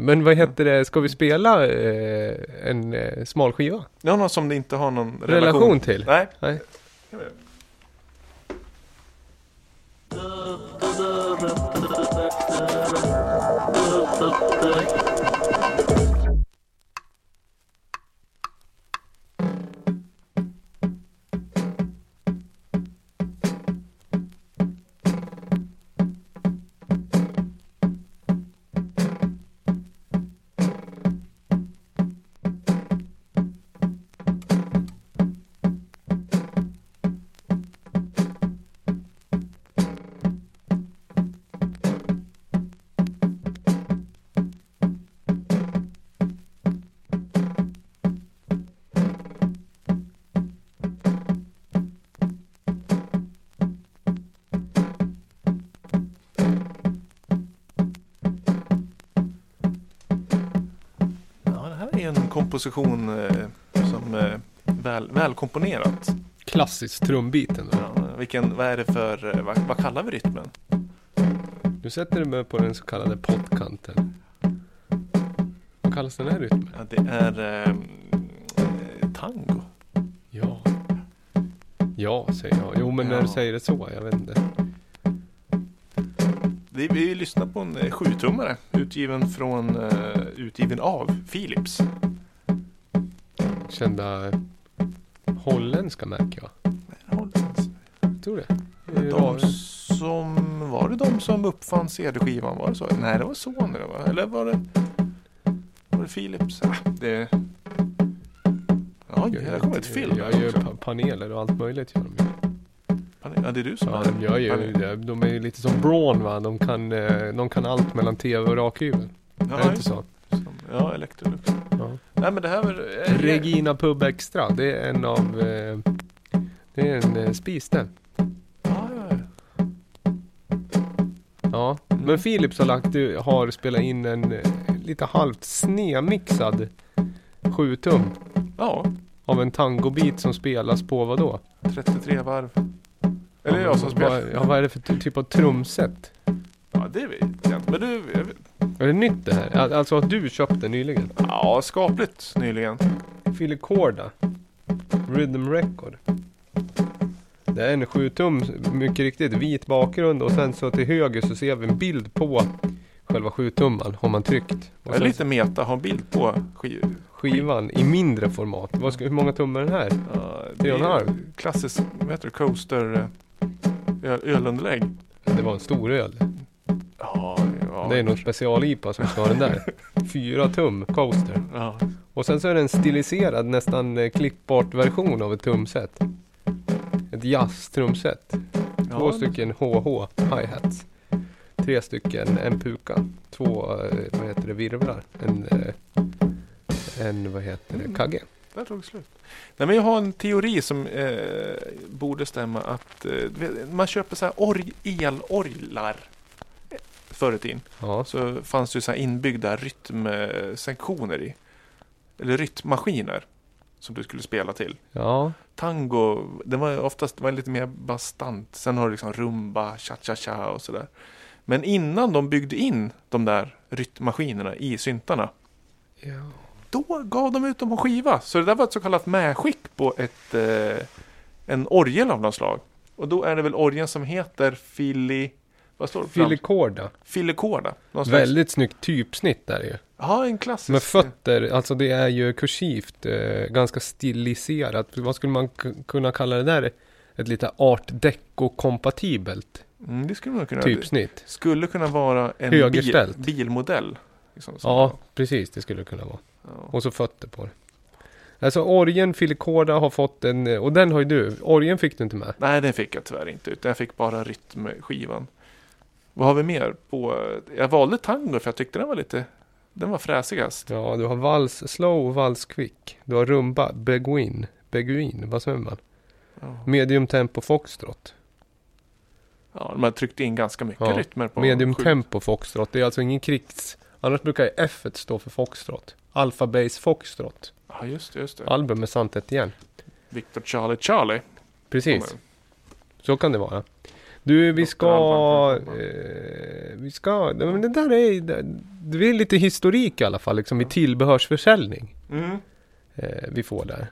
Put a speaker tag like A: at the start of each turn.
A: Men vad heter det, ska vi spela eh, en eh, smal skiva?
B: Ja, någon som det inte har någon relation,
A: Relation, till?
B: Nej.
A: Nej.
B: Ja, det här är en komposition eh, som eh, väl, välkomponerat.
A: Klassiskt trumbit ändå.
B: Ja, vilken, vad är det för, eh, vad, vad kallar vi rytmen?
A: Du sätter du mig på den så kallade pottkanten. Vad kallas den här rytmen?
B: Ja, det är eh, eh, tango.
A: Ja. Ja, säger jag. Jo, men när
B: Ja.
A: du säger det så, jag vet inte.
B: Vi, vi lyssnar på en eh, sjutummare utgiven från, eh, utgiven av Philips.
A: Kända eh, holländska märker jag. Jag tror det. Det är ju
B: De
A: rare.
B: som, var det de som uppfann CD-skivan? Var det så? Nej, det var Sony det var. Eller var det, var det Philips? Ah, det...
A: Gör
B: Ja,
A: ju
B: det kommer ett
A: lite-
B: film.
A: Gör
B: här
A: ju
B: också.
A: pa- paneler och allt möjligt gör de ju.
B: Ja, det är du som
A: Ja,
B: är
A: de gör ju
B: Ja,
A: det. De är ju lite som Braun va. De kan, eh, de kan allt mellan tv och rakhyvel. är det
B: just
A: inte så?
B: det. Ja, Electrolux.
A: Ja.
B: Nej, men det här var... eh,
A: Regina Pub Extra. Det är en av... Eh, det är en eh, spis den.
B: Ja, ja, ja.
A: Ja,
B: Mm.
A: men Philips har, lagt, har spelat in en eh, lite halvt snedmixad 7 tum
B: ja,
A: av en tangobit som spelas på vad då?
B: 33 varv. Eller jag som spelar.
A: Vad, ja, vad är det för ty- typ av trumset?
B: Ja, det vet jag inte. Men du, jag vet-
A: Är det nytt det här? Al- Alltså att du köpte nyligen?
B: ja, skapligt nyligen.
A: Filicorda Rhythm Record Det är en 7 tum, mycket riktigt, vit bakgrund och sen så till höger så ser vi en bild på själva 7 tumman har man tryckt.
B: Jag
A: Och
B: är
A: sen
B: lite meta, har en bild på skiv.
A: skivan i mindre format. Vad ska, hur många tummar är den här?
B: Ja,
A: Tre och en
B: är
A: halv.
B: Klassisk, vad heter det, coaster eh, öl, ölunderlägg.
A: Det var en stor öl.
B: Ja, ja.
A: Det är någon special-IPA som ska ha den där. Fyra tum coaster.
B: Ja,
A: Och sen så är det en stiliserad, nästan eh, klippbart version av ett trumset. Ett jazz-trumset. Två
B: ja,
A: stycken HH hi-hats. Tre stycken en puka. Två, eh, vad heter det, virvlar. En, eh, en vad heter det, kagge.
B: Där tog det slut. Nej, men jag har en teori som eh, borde stämma att eh, du vet, man köper så här org, elorglar. eh, Förr i tiden
A: Ja,
B: så fanns det ju så här inbyggda rytmsektioner i. Eller rytmmaskiner som du skulle spela till.
A: ja,
B: tango, det var oftast det var lite mer bastant. Sen har du liksom rumba, cha-cha-cha och sådär. Men innan de byggde in de där rytmmaskinerna i syntarna,
A: ja.
B: då gav de ut dem på skiva. Så det där var ett så kallat medskick på ett, eh, en orgel av något slag. Och då är det väl orgeln som heter Fili... Vad står det? Fram-
A: Filicorda.
B: Filicorda. någon slags-
A: Väldigt snyggt typsnitt där ju.
B: Ja, en klassisk.
A: Med fötter, alltså det är ju kursivt, eh, ganska stiliserat. Vad skulle man k- kunna kalla det där? Ett lite art deco-kompatibelt
B: Mm, det skulle man kunna
A: typsnitt.
B: Skulle kunna vara en bil,
A: typ. Högerställt.
B: bilmodell. Liksom, så.
A: Ja, precis det skulle det kunna vara.
B: Ja.
A: Och så fötter på det. Alltså orgen Filicorda har fått en, eh, och den har ju du, orgen fick du inte med.
B: Nej, den fick jag tyvärr inte ut. Jag fick bara rytmskivan. Vad har vi mer? På, jag valde tango för jag tyckte den var lite... Den var fräsigast.
A: Ja, du har vals slow och vals quick. Du har rumba, beguin, beguin, vad säger man?
B: Ja.
A: Medium tempo foxtrot.
B: Ja, de har tryckt in ganska mycket
A: Ja,
B: rytmer på
A: Medium
B: sju-
A: tempo foxtrot. Det är alltså ingen krigs... Annars brukar ju F stå för foxtrot. Alpha Base Foxtrot.
B: Ja, just det. Just det.
A: Album med sant igen.
B: Victor Charlie Charlie.
A: Precis,
B: kommer.
A: så kan det vara. Du, vi ska...
B: Dr. Alban.
A: Eh, vi ska... Nej, men det där är... Det är lite historik i alla fall, liksom i tillbehörsförsäljning.
B: Mm.
A: Eh, vi får där.